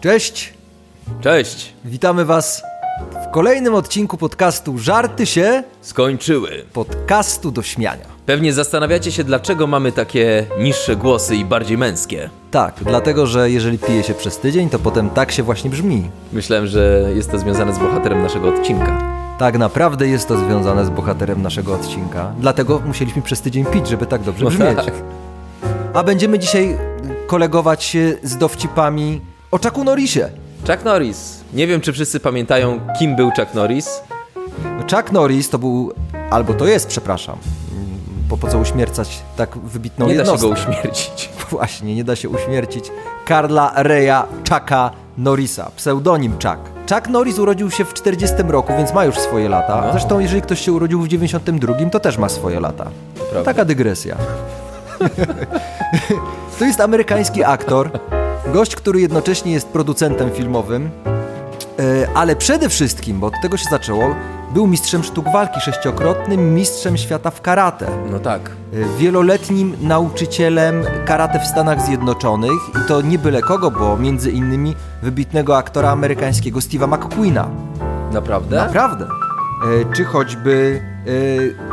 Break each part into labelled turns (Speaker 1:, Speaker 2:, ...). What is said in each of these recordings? Speaker 1: Cześć,
Speaker 2: Cześć!
Speaker 1: witamy Was w kolejnym odcinku podcastu Żarty się,
Speaker 2: Skończyły.
Speaker 1: podcastu do śmiania.
Speaker 2: Pewnie zastanawiacie się, dlaczego mamy takie niższe głosy i bardziej męskie.
Speaker 1: Tak, dlatego że jeżeli pije się przez tydzień, to potem tak się właśnie brzmi.
Speaker 2: Myślałem, że jest to związane z bohaterem naszego odcinka.
Speaker 1: Tak naprawdę jest to związane z bohaterem naszego odcinka, dlatego musieliśmy przez tydzień pić, żeby tak dobrze
Speaker 2: No
Speaker 1: brzmieć.
Speaker 2: tak.
Speaker 1: A będziemy dzisiaj kolegować się z dowcipami o Chucku Norrisie.
Speaker 2: Chuck Norris. Nie wiem, czy wszyscy pamiętają, kim był Chuck Norris.
Speaker 1: Chuck Norris to był, albo to jest, przepraszam, po, po co uśmiercać tak wybitną
Speaker 2: Nie da się
Speaker 1: jednostkę.
Speaker 2: go uśmiercić.
Speaker 1: Właśnie, nie da się uśmiercić Karla Reya Chucka Norrisa, pseudonim Chuck. Chuck Norris urodził się w 40 roku, więc ma już swoje lata.
Speaker 2: No.
Speaker 1: Zresztą jeżeli ktoś się urodził w 92, to też ma swoje lata.
Speaker 2: prawda.
Speaker 1: Taka dygresja. to jest amerykański aktor, gość, który jednocześnie jest producentem filmowym, E, ale przede wszystkim, bo od tego się zaczęło, był mistrzem sztuk walki sześciokrotnym, mistrzem świata w karate
Speaker 2: No tak.
Speaker 1: Y, wieloletnim nauczycielem karate w Stanach Zjednoczonych i to nie byle kogo, bo między innymi wybitnego aktora amerykańskiego Steve'a McQueena.
Speaker 2: Naprawdę?
Speaker 1: Naprawdę. E, Czy choćby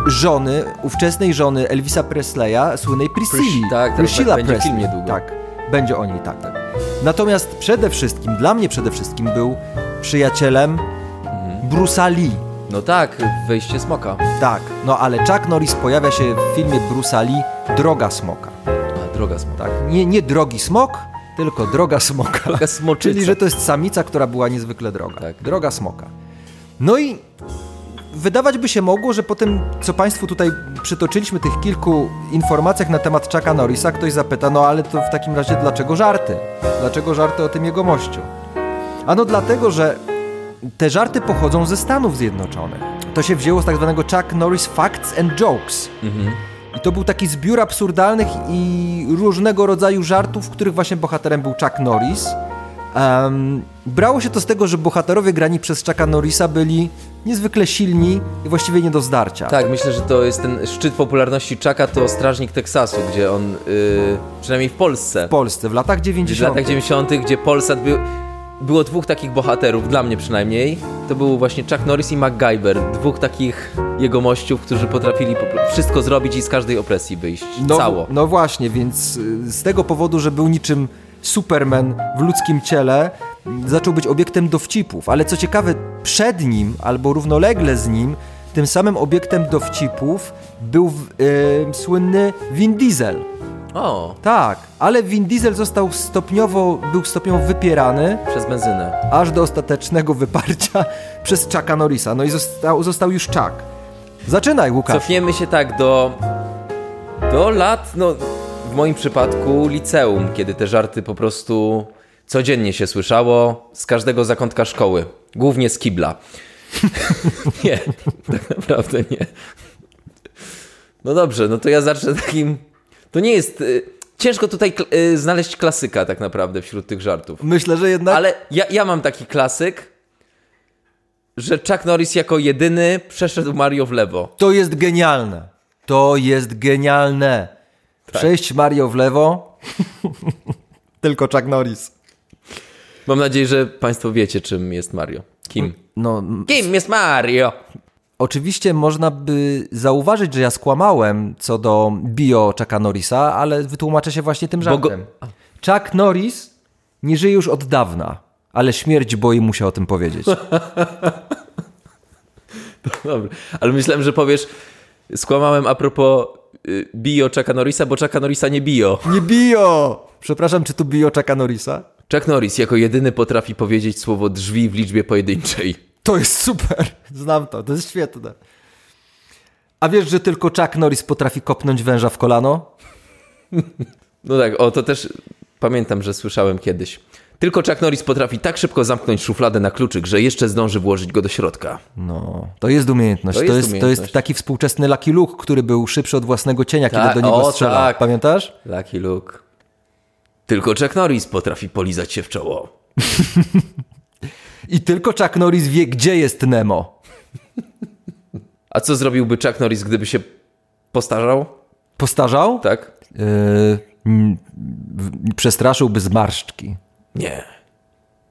Speaker 1: e, żony, ówczesnej żony Elvisa Presleya, słynnej Priscilli.
Speaker 2: Pris- tak, teraz
Speaker 1: Priscilla
Speaker 2: będzie
Speaker 1: Presley.
Speaker 2: film niedługo.
Speaker 1: Tak, będzie o niej tak. tak. Natomiast przede wszystkim, dla mnie przede wszystkim był przyjacielem
Speaker 2: Mhm.
Speaker 1: Bruce'a Lee.
Speaker 2: No tak, wejście smoka.
Speaker 1: Tak, no ale Chuck Norris pojawia się w filmie Bruce'a Lee Droga Smoka.
Speaker 2: A, droga smoka.
Speaker 1: Tak, nie, nie drogi smok, tylko droga smoka.
Speaker 2: Droga smoczyca.
Speaker 1: Czyli, że to jest samica, która była niezwykle droga.
Speaker 2: Tak.
Speaker 1: Droga smoka. No i wydawać by się mogło, że po tym, co Państwu tutaj przytoczyliśmy, tych kilku informacjach na temat Chucka Norrisa, ktoś zapyta, no ale to w takim razie dlaczego żarty? Dlaczego żarty o tym jegomościu? Ano dlatego, że te żarty pochodzą ze Stanów Zjednoczonych. To się wzięło z tak zwanego Chuck Norris Facts and Jokes.
Speaker 2: Mhm.
Speaker 1: I to był taki zbiór absurdalnych i różnego rodzaju żartów, w których właśnie bohaterem był Chuck Norris. Em, brało się to z tego, że bohaterowie grani przez Chucka Norrisa byli niezwykle silni i właściwie nie do zdarcia.
Speaker 2: Tak, myślę, że to jest ten szczyt popularności Chucka, to Strażnik Teksasu, gdzie on, yy, przynajmniej w Polsce,
Speaker 1: W Polsce w latach
Speaker 2: w
Speaker 1: 90.
Speaker 2: latach 90., gdzie Polsat był. Było dwóch takich bohaterów, dla mnie przynajmniej. To był właśnie Chuck Norris i MacGyver. Dwóch takich jegomościów, którzy potrafili po pro- wszystko zrobić i z każdej opresji wyjść.
Speaker 1: no,
Speaker 2: Cało.
Speaker 1: No właśnie, więc y, z tego powodu, że był niczym Superman w ludzkim ciele, m, zaczął być obiektem dowcipów. Ale co ciekawe, przed nim albo równolegle z nim, tym samym obiektem dowcipów był w- y, słynny Vin Diesel.
Speaker 2: O,
Speaker 1: Tak, ale Vin Diesel został stopniowo, był stopniowo wypierany,
Speaker 2: przez benzynę.
Speaker 1: aż do ostatecznego wyparcia przez Chucka Norrisa. No i został, został już Chuck. Zaczynaj, Łukasz.
Speaker 2: Cofniemy się tak do. do lat, no w moim przypadku liceum, kiedy te żarty po prostu codziennie się słyszało z każdego zakątka szkoły. Głównie z kibla. nie, tak naprawdę nie. No dobrze, no to ja zacznę takim. To nie jest. Y, ciężko tutaj kl- y, znaleźć klasyka tak naprawdę wśród tych żartów.
Speaker 1: Myślę, że jednak...
Speaker 2: Ale ja, ja mam taki klasyk, że Chuck Norris jako jedyny przeszedł Mario w lewo.
Speaker 1: To jest genialne. To jest genialne. Przejść Mario w lewo. Tylko Chuck Norris.
Speaker 2: Mam nadzieję, że Państwo wiecie, czym jest Mario. Kim?
Speaker 1: No, m-
Speaker 2: Kim jest Mario?
Speaker 1: oczywiście można by zauważyć, że ja skłamałem co do bio Chucka Norrisa, ale wytłumaczę się właśnie tym
Speaker 2: Bo go-
Speaker 1: żartem. Chuck Norris nie żyje już od dawna, ale śmierć boi mu się o tym powiedzieć.
Speaker 2: Dobra, ale myślałem, że powiesz, skłamałem a propos y, bio Chucka Norrisa, bo Chucka Norrisa nie bio.
Speaker 1: Nie bio! Przepraszam, czy tu bio Chucka Norrisa?
Speaker 2: Chuck Norris jako jedyny potrafi powiedzieć słowo drzwi w liczbie pojedynczej.
Speaker 1: To jest super. Znam to, to jest świetne. A wiesz, że tylko Chuck Norris potrafi kopnąć węża w kolano?
Speaker 2: No tak, o to też pamiętam, że słyszałem kiedyś. Tylko Chuck Norris potrafi tak szybko zamknąć szufladę na kluczyk, że jeszcze zdąży włożyć go do środka.
Speaker 1: No, to jest umiejętność. To jest,
Speaker 2: To
Speaker 1: to
Speaker 2: jest
Speaker 1: jest,
Speaker 2: umiejętność.
Speaker 1: taki współczesny Lucky Luke, który był szybszy od własnego cienia,
Speaker 2: Tak,
Speaker 1: kiedy do niego
Speaker 2: o,
Speaker 1: strzela.
Speaker 2: tak.
Speaker 1: Pamiętasz?
Speaker 2: Lucky Luke. Tylko Chuck Norris potrafi polizać się w czoło.
Speaker 1: I tylko Chuck Norris wie, gdzie jest Nemo.
Speaker 2: A co zrobiłby Chuck Norris, gdyby się postarzał?
Speaker 1: Postarzał? E,
Speaker 2: Tak?
Speaker 1: Yy, m, w- przestraszyłby zmarszczki.
Speaker 2: Nie.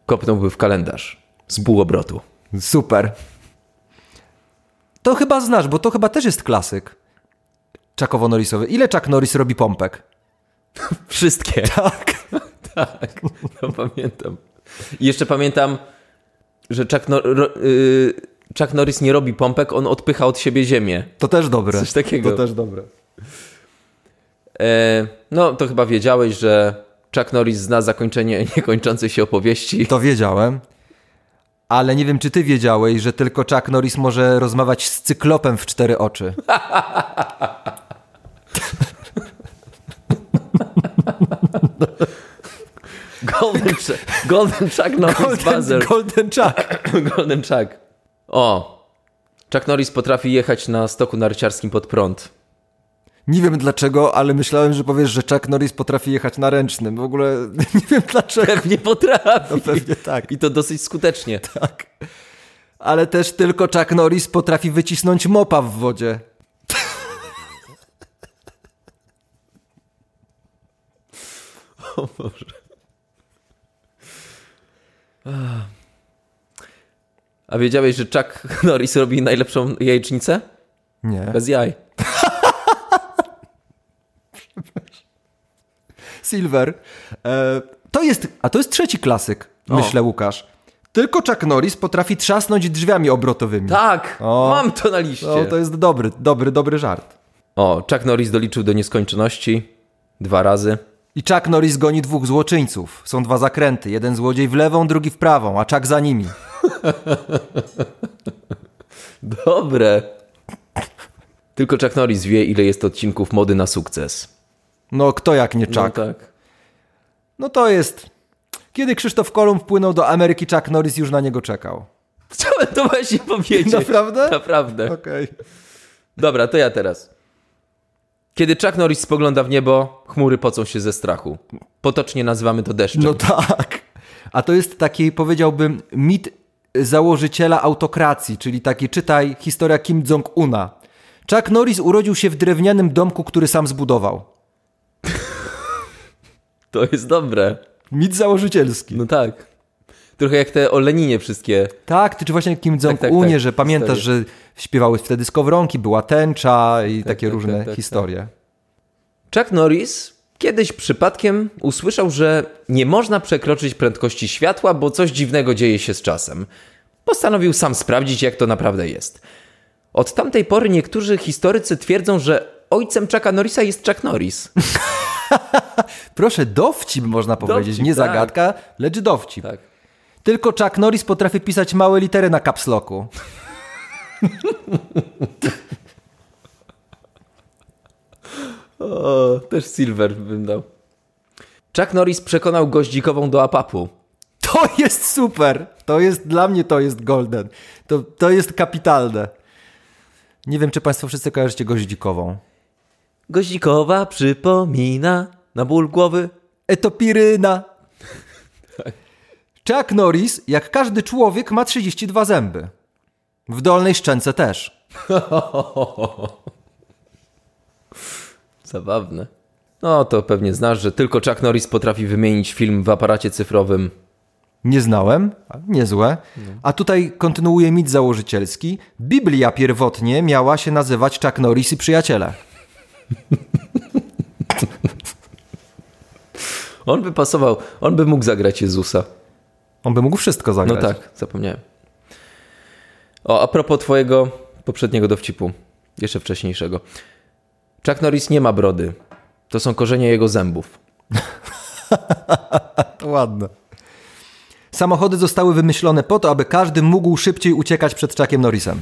Speaker 2: kopnąłby w kalendarz z pół obrotu.
Speaker 1: Super. To chyba znasz, bo to chyba też jest klasyk. Czakowo Norrisowy. Ile Chuck Norris robi pompek?
Speaker 2: Wszystkie.
Speaker 1: Tak.
Speaker 2: Tak, to pamiętam. I jeszcze pamiętam, że Chuck, Nor- ro- y, Chuck Norris nie robi pompek, on odpycha od siebie ziemię.
Speaker 1: To też dobre.
Speaker 2: Coś takiego.
Speaker 1: To też dobre.
Speaker 2: E, no, to chyba wiedziałeś, że Chuck Norris zna zakończenie niekończącej się opowieści.
Speaker 1: To wiedziałem. Ale nie wiem, czy ty wiedziałeś, że tylko Chuck Norris może rozmawiać z cyklopem w cztery oczy.
Speaker 2: Golden, Ch- Golden Chuck Norris Buzzer.
Speaker 1: Golden Chuck.
Speaker 2: Golden Chuck. O, Chuck Norris potrafi jechać na stoku narciarskim pod prąd.
Speaker 1: Nie wiem dlaczego, ale myślałem, że powiesz, że Chuck Norris potrafi jechać na ręcznym. W ogóle nie wiem dlaczego.
Speaker 2: Pewnie potrafi.
Speaker 1: No pewnie tak.
Speaker 2: I to dosyć skutecznie.
Speaker 1: Tak. Ale też tylko Chuck Norris potrafi wycisnąć mopa w wodzie.
Speaker 2: A wiedziałeś, że Chuck Norris robi najlepszą jajecznicę?
Speaker 1: Nie.
Speaker 2: Bez jaj.
Speaker 1: Silver. E, to jest, a to jest trzeci klasyk,
Speaker 2: O.
Speaker 1: myślę, Łukasz. Tylko Chuck Norris potrafi trzasnąć drzwiami obrotowymi.
Speaker 2: Tak!
Speaker 1: O.
Speaker 2: Mam to na liście.
Speaker 1: No, to jest dobry, dobry, dobry żart.
Speaker 2: O, Chuck Norris doliczył do nieskończoności. Dwa razy.
Speaker 1: I Chuck Norris goni dwóch złoczyńców. Są dwa zakręty. Jeden złodziej w lewą, drugi w prawą, a Chuck za nimi.
Speaker 2: Dobre. Tylko Chuck Norris wie, ile jest odcinków mody na sukces.
Speaker 1: No kto jak nie Chuck?
Speaker 2: No tak.
Speaker 1: No to jest... Kiedy Krzysztof Kolumb wpłynął do Ameryki, Chuck Norris już na niego czekał.
Speaker 2: Chciałem to właśnie powiedzieć.
Speaker 1: Naprawdę?
Speaker 2: Naprawdę.
Speaker 1: Okej.
Speaker 2: Dobra, to ja teraz. Kiedy Chuck Norris spogląda w niebo, chmury pocą się ze strachu. Potocznie nazywamy to deszczem.
Speaker 1: No tak. A to jest taki, powiedziałbym, mit założyciela autokracji, czyli taki, czytaj, historia Kim Jong-una. Chuck Norris urodził się w drewnianym domku, który sam zbudował.
Speaker 2: To jest dobre.
Speaker 1: Mit założycielski.
Speaker 2: No tak. Trochę jak te o Leninie wszystkie.
Speaker 1: Tak, ty czy właśnie Kim Jong-unie,
Speaker 2: tak, tak,
Speaker 1: że pamiętasz, że śpiewały wtedy skowronki, była tęcza i takie
Speaker 2: tak,
Speaker 1: różne
Speaker 2: tak, tak,
Speaker 1: historie.
Speaker 2: Chuck Norris kiedyś przypadkiem usłyszał, że nie można przekroczyć prędkości światła, bo coś dziwnego dzieje się z czasem. Postanowił sam sprawdzić, jak to naprawdę jest. Od tamtej pory niektórzy historycy twierdzą, że ojcem Chucka Norrisa jest Chuck Norris.
Speaker 1: Proszę, dowcip można powiedzieć,
Speaker 2: Dowcip,
Speaker 1: nie
Speaker 2: tak.
Speaker 1: zagadka, lecz dowcip.
Speaker 2: Tak.
Speaker 1: Tylko Chuck Norris potrafi pisać małe litery na kapsloku.
Speaker 2: O, też Silver bym dał. Chuck Norris przekonał goździkową do apapu.
Speaker 1: To jest super! To jest, dla mnie to jest golden. To, to jest kapitalne. Nie wiem, czy państwo wszyscy kojarzycie goździkową.
Speaker 2: Goździkowa przypomina na ból głowy.
Speaker 1: Etopiryna.
Speaker 2: Tak.
Speaker 1: Chuck Norris, jak każdy człowiek, ma 32 zęby. W dolnej szczęce też.
Speaker 2: Zabawne. No to pewnie znasz, że tylko Chuck Norris potrafi wymienić film w aparacie cyfrowym.
Speaker 1: Nie znałem, a niezłe.
Speaker 2: No.
Speaker 1: A tutaj kontynuuje mit założycielski. Biblia pierwotnie miała się nazywać Chuck Norris i przyjaciele.
Speaker 2: On by pasował, on by mógł zagrać Jezusa.
Speaker 1: On by mógł wszystko
Speaker 2: No
Speaker 1: zagrać.
Speaker 2: tak, zapomniałem. O, a propos twojego poprzedniego dowcipu, jeszcze wcześniejszego. Chuck Norris nie ma brody. To są korzenie jego zębów.
Speaker 1: Ładne. Samochody zostały wymyślone po to, aby każdy mógł szybciej uciekać przed Chuckiem Norrisem.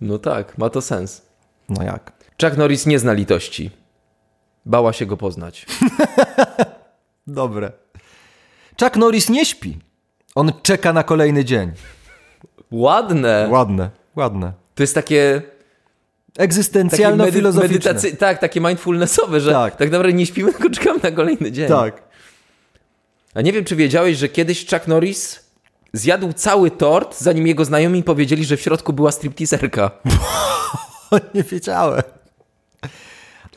Speaker 2: No tak, ma to sens.
Speaker 1: No jak?
Speaker 2: Chuck Norris nie zna litości. Bała się go poznać.
Speaker 1: Dobre. Chuck Norris nie śpi. On czeka na kolejny dzień.
Speaker 2: Ładne!
Speaker 1: Ładne, ładne.
Speaker 2: To jest takie Taki
Speaker 1: Egzystencjalno-filozoficzne.
Speaker 2: medytacy- tak, takie mindfulnessowe, że
Speaker 1: Tak.
Speaker 2: tak. naprawdę nie śpimy, tylko czekamy na kolejny dzień.
Speaker 1: Tak.
Speaker 2: A nie wiem, czy wiedziałeś, że kiedyś Chuck Norris zjadł cały tort, zanim jego znajomi powiedzieli, że w środku była stripteaserka.
Speaker 1: Nie wiedziałem.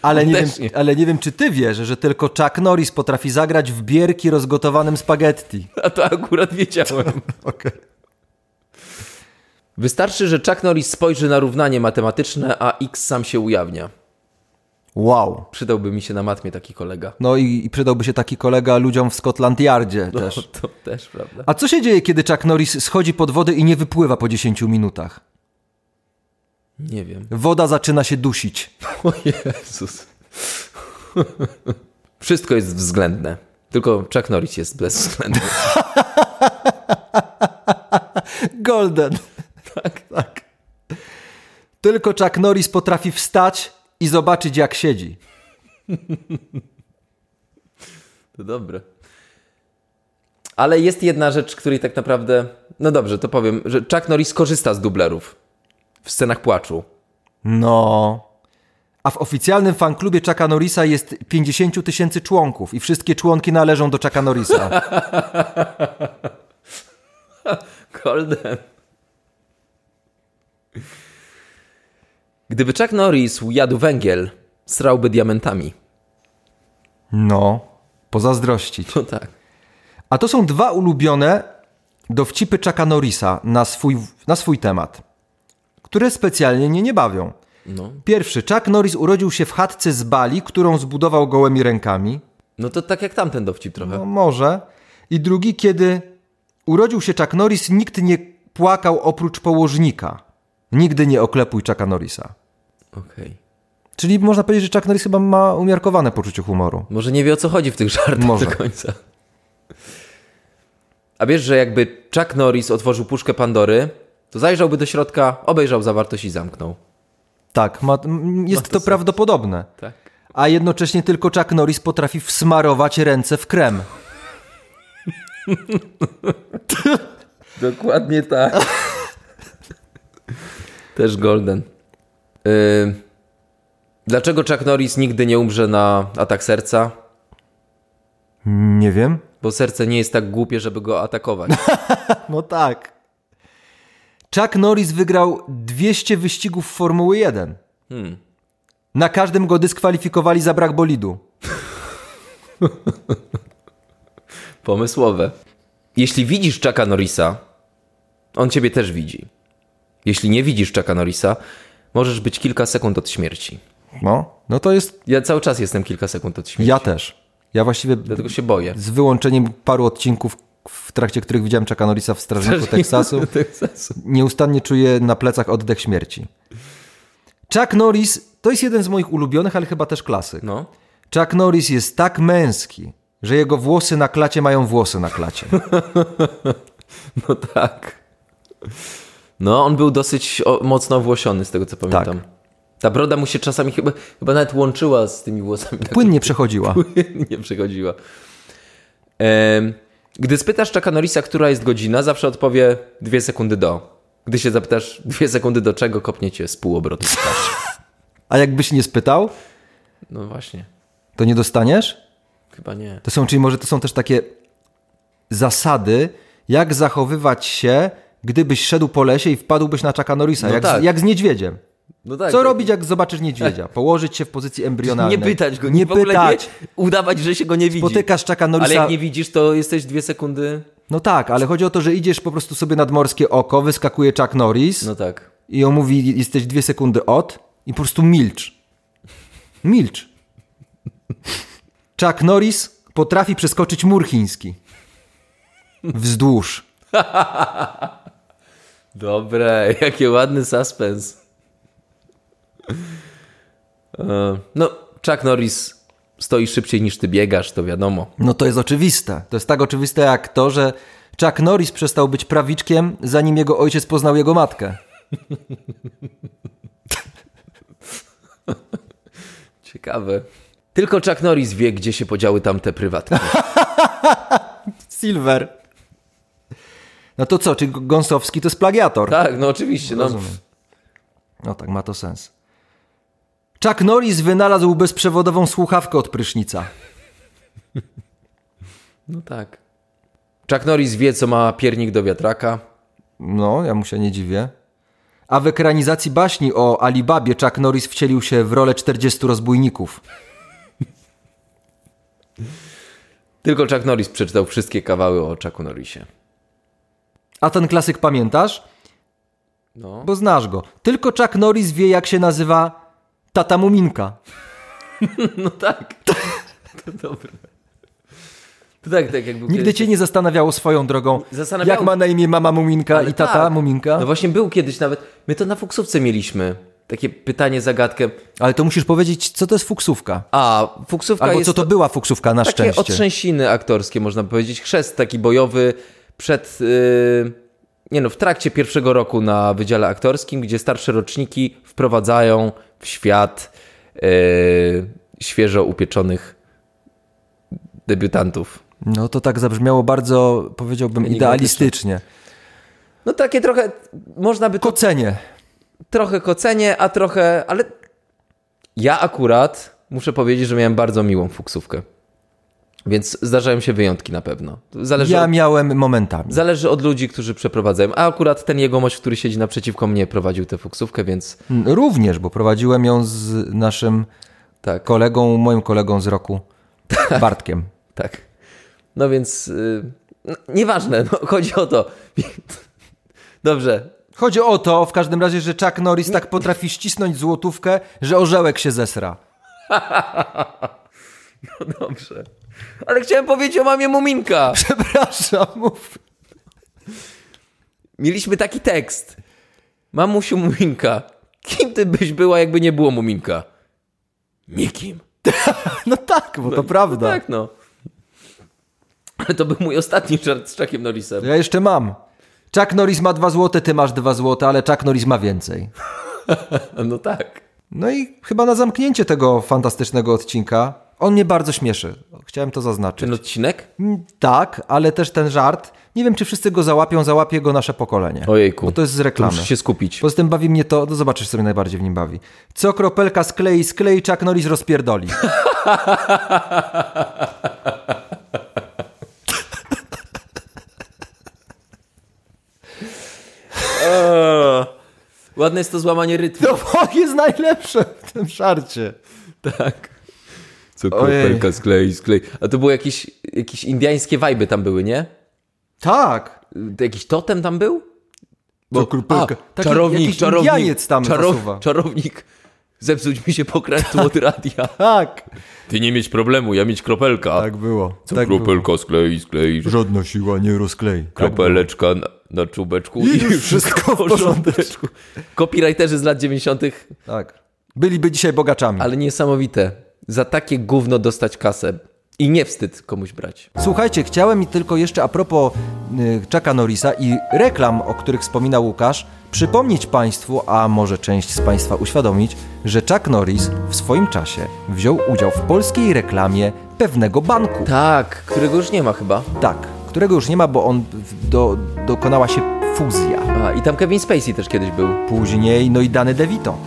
Speaker 1: Ale nie, wiem,
Speaker 2: Też nie.
Speaker 1: ale nie wiem, czy ty wiesz, że tylko Chuck Norris potrafi zagrać w bierki rozgotowanym spaghetti.
Speaker 2: A to akurat wiedziałem.
Speaker 1: Okej.
Speaker 2: Wystarczy, że Chuck Norris spojrzy na równanie matematyczne, a X sam się ujawnia.
Speaker 1: Wow.
Speaker 2: Przydałby mi się na matmie taki kolega.
Speaker 1: No i, i przydałby się taki kolega ludziom w Scotland Yardzie też.
Speaker 2: To też, prawda?
Speaker 1: A co się dzieje, kiedy Chuck Norris schodzi pod wodę i nie wypływa po 10 minutach?
Speaker 2: Nie wiem.
Speaker 1: Woda zaczyna się dusić.
Speaker 2: O Jezus. Wszystko jest względne. Tylko Chuck Norris jest bezwzględny.
Speaker 1: Golden. Tak, tak. Tylko Chuck Norris potrafi wstać i zobaczyć, jak siedzi.
Speaker 2: To dobre. Ale jest jedna rzecz, której tak naprawdę. No dobrze, to powiem, że Chuck Norris korzysta z dublerów w scenach płaczu.
Speaker 1: No. A w oficjalnym fanklubie Chucka Norrisa jest 50 000 tysięcy członków i wszystkie członki należą do Chucka Norrisa.
Speaker 2: Golden. Gdyby Chuck Norris jadł węgiel, srałby diamentami.
Speaker 1: No. Pozazdrościć.
Speaker 2: No tak.
Speaker 1: A to są dwa ulubione dowcipy Chucka Norrisa na swój, na swój temat, które specjalnie mnie nie bawią.
Speaker 2: No.
Speaker 1: Pierwszy, Chuck Norris urodził się w chatce z Bali, którą zbudował gołymi rękami.
Speaker 2: no to tak jak tamten dowcip trochę.
Speaker 1: No może. I drugi, kiedy urodził się Chuck Norris, nikt nie płakał oprócz położnika. Nigdy nie oklepuj Chucka Norrisa.
Speaker 2: Okej.
Speaker 1: Czyli można powiedzieć, że Chuck Norris chyba ma umiarkowane poczucie humoru.
Speaker 2: Może nie wie o co chodzi w tych żartach
Speaker 1: Może.
Speaker 2: do końca. A wiesz, że jakby Chuck Norris otworzył puszkę Pandory, to zajrzałby do środka, obejrzał zawartość i zamknął.
Speaker 1: Tak, ma, m, jest to, prawdopodobne.
Speaker 2: Tak.
Speaker 1: A jednocześnie tylko Chuck Norris potrafi wsmarować ręce w krem.
Speaker 2: Dokładnie tak. Też Golden. Y, Dlaczego Chuck Norris nigdy nie umrze na atak serca?
Speaker 1: Nie wiem.
Speaker 2: Bo serce nie jest tak głupie, żeby go atakować.
Speaker 1: No tak. Chuck Norris wygrał 200 wyścigów Formuły 1. Na każdym go dyskwalifikowali za brak bolidu.
Speaker 2: Pomysłowe. Jeśli widzisz Chucka Norrisa, on ciebie też widzi. Jeśli nie widzisz Chucka Norrisa, możesz być kilka sekund od śmierci.
Speaker 1: No, no to jest.
Speaker 2: Ja cały czas jestem kilka sekund od śmierci,
Speaker 1: Ja też. Ja właściwie
Speaker 2: dlatego się boję.
Speaker 1: z wyłączeniem paru odcinków, w trakcie których widziałem Chucka Norrisa w Strażniku Teksasu,
Speaker 2: Teksasu.
Speaker 1: nieustannie czuję na plecach oddech śmierci. Chuck Norris to jest jeden z moich ulubionych, ale chyba też klasyk.
Speaker 2: No.
Speaker 1: Chuck Norris jest tak męski, że jego włosy na klacie mają włosy na klacie.
Speaker 2: no tak. No, on był dosyć o, mocno owłosiony, z tego co pamiętam.
Speaker 1: Tak.
Speaker 2: Ta broda mu się czasami chyba, chyba nawet łączyła z tymi włosami. Tak
Speaker 1: Płynnie przechodziła.
Speaker 2: nie przechodziła. Em, Gdy spytasz Chucka Norrisa, która jest godzina, zawsze odpowie dwie sekundy do. Gdy się zapytasz dwie sekundy do czego, kopnie cię z pół obrotu. w twarz.
Speaker 1: A jakbyś nie spytał,
Speaker 2: No właśnie,
Speaker 1: to nie dostaniesz?
Speaker 2: chyba nie.
Speaker 1: To są, czyli może to są też takie zasady, jak zachowywać się, gdybyś szedł po lesie i wpadłbyś na Chucka Norrisa,
Speaker 2: No
Speaker 1: jak,
Speaker 2: tak.
Speaker 1: z, jak z niedźwiedziem.
Speaker 2: No tak,
Speaker 1: Co
Speaker 2: tak.
Speaker 1: robić, jak zobaczysz niedźwiedzia? Położyć się w pozycji embrionalnej.
Speaker 2: Nie pytać go,
Speaker 1: nie
Speaker 2: w ogóle
Speaker 1: pytać.
Speaker 2: Nie, udawać, że się go nie widzi.
Speaker 1: Spotykasz Chucka
Speaker 2: Ale
Speaker 1: Norrisa.
Speaker 2: jak nie widzisz, to jesteś dwie sekundy.
Speaker 1: No tak, ale chodzi o to, że idziesz po prostu sobie nad morskie oko, wyskakuje Chuck Norris
Speaker 2: No tak.
Speaker 1: i on mówi, jesteś dwie sekundy od i po prostu milcz. Milcz. Chuck Norris potrafi przeskoczyć mur chiński. Wzdłuż.
Speaker 2: Dobre, jaki ładny suspens. E, No, Chuck Norris stoi szybciej niż ty biegasz, to wiadomo.
Speaker 1: No to jest oczywiste. To jest tak oczywiste jak to, że Chuck Norris przestał być prawiczkiem, zanim jego ojciec poznał jego matkę.
Speaker 2: Ciekawe. Tylko Chuck Norris wie, gdzie się podziały tamte prywatki.
Speaker 1: Silver. No to co, czy Gąsowski to jest plagiator?
Speaker 2: tak, no oczywiście. No,
Speaker 1: Rozumiem. No tak, ma to sens. Chuck Norris wynalazł bezprzewodową słuchawkę od prysznica.
Speaker 2: no tak. Chuck Norris wie, co ma piernik do wiatraka.
Speaker 1: No, ja mu się nie dziwię. A w ekranizacji baśni o Alibabie Chuck Norris wcielił się w rolę 40 rozbójników.
Speaker 2: Tylko Chuck Norris przeczytał wszystkie kawały o Chucku Norrisie.
Speaker 1: A ten klasyk pamiętasz?
Speaker 2: No.
Speaker 1: Bo znasz go. Tylko Chuck Norris wie, jak się nazywa tata Muminka.
Speaker 2: No tak. To dobre. To tak, tak jakby...
Speaker 1: Nigdy cię nie zastanawiało swoją drogą,
Speaker 2: Zastanawiało-
Speaker 1: jak ma na imię mama Muminka
Speaker 2: Ale
Speaker 1: i tata
Speaker 2: tak.
Speaker 1: Muminka.
Speaker 2: No właśnie był kiedyś nawet... My to na Fuksówce mieliśmy. Takie pytanie, zagadkę.
Speaker 1: Ale to musisz powiedzieć, co to jest fuksówka.
Speaker 2: A, Fuksówka
Speaker 1: Albo
Speaker 2: jest...
Speaker 1: co to była fuksówka na
Speaker 2: Takie
Speaker 1: szczęście.
Speaker 2: otrzęsiny aktorskie, można powiedzieć. Chrzest taki bojowy przed. y, nie no, w trakcie pierwszego roku na Wydziale Aktorskim, gdzie starsze roczniki wprowadzają w świat y, świeżo upieczonych debiutantów.
Speaker 1: No to tak zabrzmiało bardzo, powiedziałbym, idealistycznie.
Speaker 2: No takie trochę, można by to
Speaker 1: Kocenie.
Speaker 2: trochę kocenie, a trochę, ale ja akurat muszę powiedzieć, że miałem bardzo miłą fuksówkę. Więc zdarzają się wyjątki na pewno. Zależy od
Speaker 1: Ja miałem momentami.
Speaker 2: Zależy od ludzi, którzy przeprowadzają. A akurat ten jegomość, który siedzi naprzeciwko mnie, prowadził tę fuksówkę, więc
Speaker 1: Mm, Również, bo prowadziłem ją z naszym
Speaker 2: tak,
Speaker 1: kolegą, moim kolegą z roku, Bartkiem.
Speaker 2: tak. No więc y, no, nieważne, no, chodzi o to. Dobrze.
Speaker 1: Chodzi o to, w każdym razie, że Chuck Norris tak potrafi ścisnąć złotówkę, że orzełek się zesra.
Speaker 2: No dobrze. Ale chciałem powiedzieć o mamie Muminka.
Speaker 1: Przepraszam, mów.
Speaker 2: Mieliśmy taki tekst. Mamusiu Muminka, kim ty byś była, jakby nie było Muminka? Nikim.
Speaker 1: No tak, bo to prawda.
Speaker 2: Tak no. Ale to był mój ostatni żart z Czakiem Norrisem.
Speaker 1: Ja jeszcze mam. Chuck Norris ma dwa złote, ty masz dwa złote, ale Chuck Norris ma więcej.
Speaker 2: No tak.
Speaker 1: No i chyba na zamknięcie tego fantastycznego odcinka. On mnie bardzo śmieszy. Chciałem to zaznaczyć.
Speaker 2: Ten odcinek?
Speaker 1: Mm, Tak, ale też ten żart. Nie wiem, czy wszyscy go załapią, załapie go nasze pokolenie.
Speaker 2: Ojejku.
Speaker 1: Bo to jest z
Speaker 2: Tu
Speaker 1: reklamy.
Speaker 2: muszę się skupić.
Speaker 1: Poza tym bawi mnie to, no zobaczysz, co mnie najbardziej w nim bawi. Co kropelka sklei, sklei, Chuck Norris rozpierdoli.
Speaker 2: Eee, Ładne jest to złamanie rytmu.
Speaker 1: To jest najlepsze w tym żarcie.
Speaker 2: Tak. Co
Speaker 1: kropelka
Speaker 2: sklei, sklei. A to było jakieś, jakieś indiańskie wajby tam były, nie?
Speaker 1: Tak.
Speaker 2: To Jakiś totem tam był?
Speaker 1: Co kropelka-
Speaker 2: A,
Speaker 1: Taki-
Speaker 2: czarownik,
Speaker 1: jakiś
Speaker 2: czarownik.
Speaker 1: Indianiec tam zasuwa.
Speaker 2: Czarownik. Zepsuł mi się pokrętło od radia.
Speaker 1: Tak.
Speaker 2: Ty nie mieć problemu, ja mieć kropelka.
Speaker 1: Tak było.
Speaker 2: Co
Speaker 1: tak było. tak
Speaker 2: kropelka sklei, sklei.
Speaker 1: Żadna siła nie rozklei.
Speaker 2: Tak, Kropeleczka na, na czubeczku.
Speaker 1: I już wszystko w
Speaker 2: porządeczku. Copywriterzy z lat 90.
Speaker 1: Tak. Byliby dzisiaj bogaczami.
Speaker 2: Ale niesamowite. Za takie gówno dostać kasę. I nie wstyd komuś brać.
Speaker 1: Słuchajcie, chciałem mi tylko jeszcze a propos y, Chucka Norrisa i reklam, o których wspominał Łukasz, przypomnieć Państwu, a może część z Państwa uświadomić, że Chuck Norris w swoim czasie wziął udział w polskiej reklamie pewnego banku.
Speaker 2: Tak, którego już nie ma chyba.
Speaker 1: Tak, którego już nie ma, bo on w- do, dokonała się fuzja.
Speaker 2: A, i tam Kevin Spacey też kiedyś był.
Speaker 1: później, no i Dany DeVito.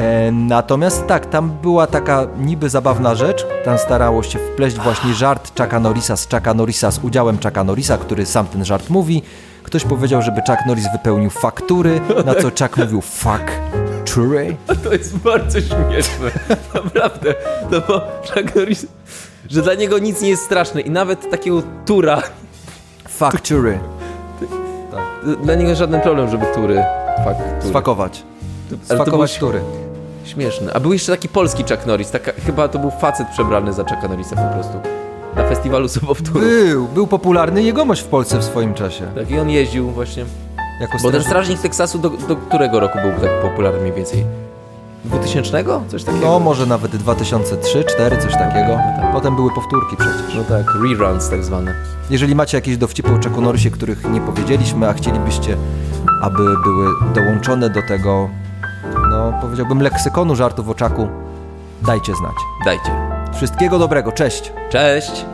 Speaker 1: E, natomiast tak, tam była taka niby zabawna rzecz, tam starało się wpleść właśnie żart Chucka Norrisa z Chucka Norrisa z udziałem Chucka Norrisa, który sam ten żart mówi. Ktoś powiedział, żeby Chuck Norris wypełnił faktury, na co Chuck mówił fuck. Tury?
Speaker 2: To jest bardzo śmieszne. Naprawdę. No bo Chuck Norris, że dla niego nic nie jest straszne i nawet takiego tura,
Speaker 1: Factory.
Speaker 2: dla niego żaden problem, żeby tury. Fak, tury.
Speaker 1: Sfakować.
Speaker 2: Ale to
Speaker 1: Sfakować
Speaker 2: był
Speaker 1: tury.
Speaker 2: śmieszne. A był jeszcze taki polski Chuck Norris, taka, chyba to był facet przebrany za Chucka Norrisa po prostu. Na festiwalu sobowtóru.
Speaker 1: Był, był popularny jegomość w Polsce w swoim czasie.
Speaker 2: Tak, i on jeździł właśnie.
Speaker 1: Jako
Speaker 2: Bo ten
Speaker 1: strażnik.
Speaker 2: strażnik Teksasu do, do którego roku był tak popularny mniej więcej? 2000? Coś takiego?
Speaker 1: No, może nawet 2003, 2004, coś takiego.
Speaker 2: Tak,
Speaker 1: Potem były powtórki przecież.
Speaker 2: No tak, reruns tak zwane.
Speaker 1: Jeżeli macie jakieś dowcipy o Chucku Norrisie, których nie powiedzieliśmy, a chcielibyście, aby były dołączone do tego, no powiedziałbym, leksykonu żartów o Chucku, dajcie znać.
Speaker 2: Dajcie.
Speaker 1: Wszystkiego dobrego, cześć!
Speaker 2: Cześć!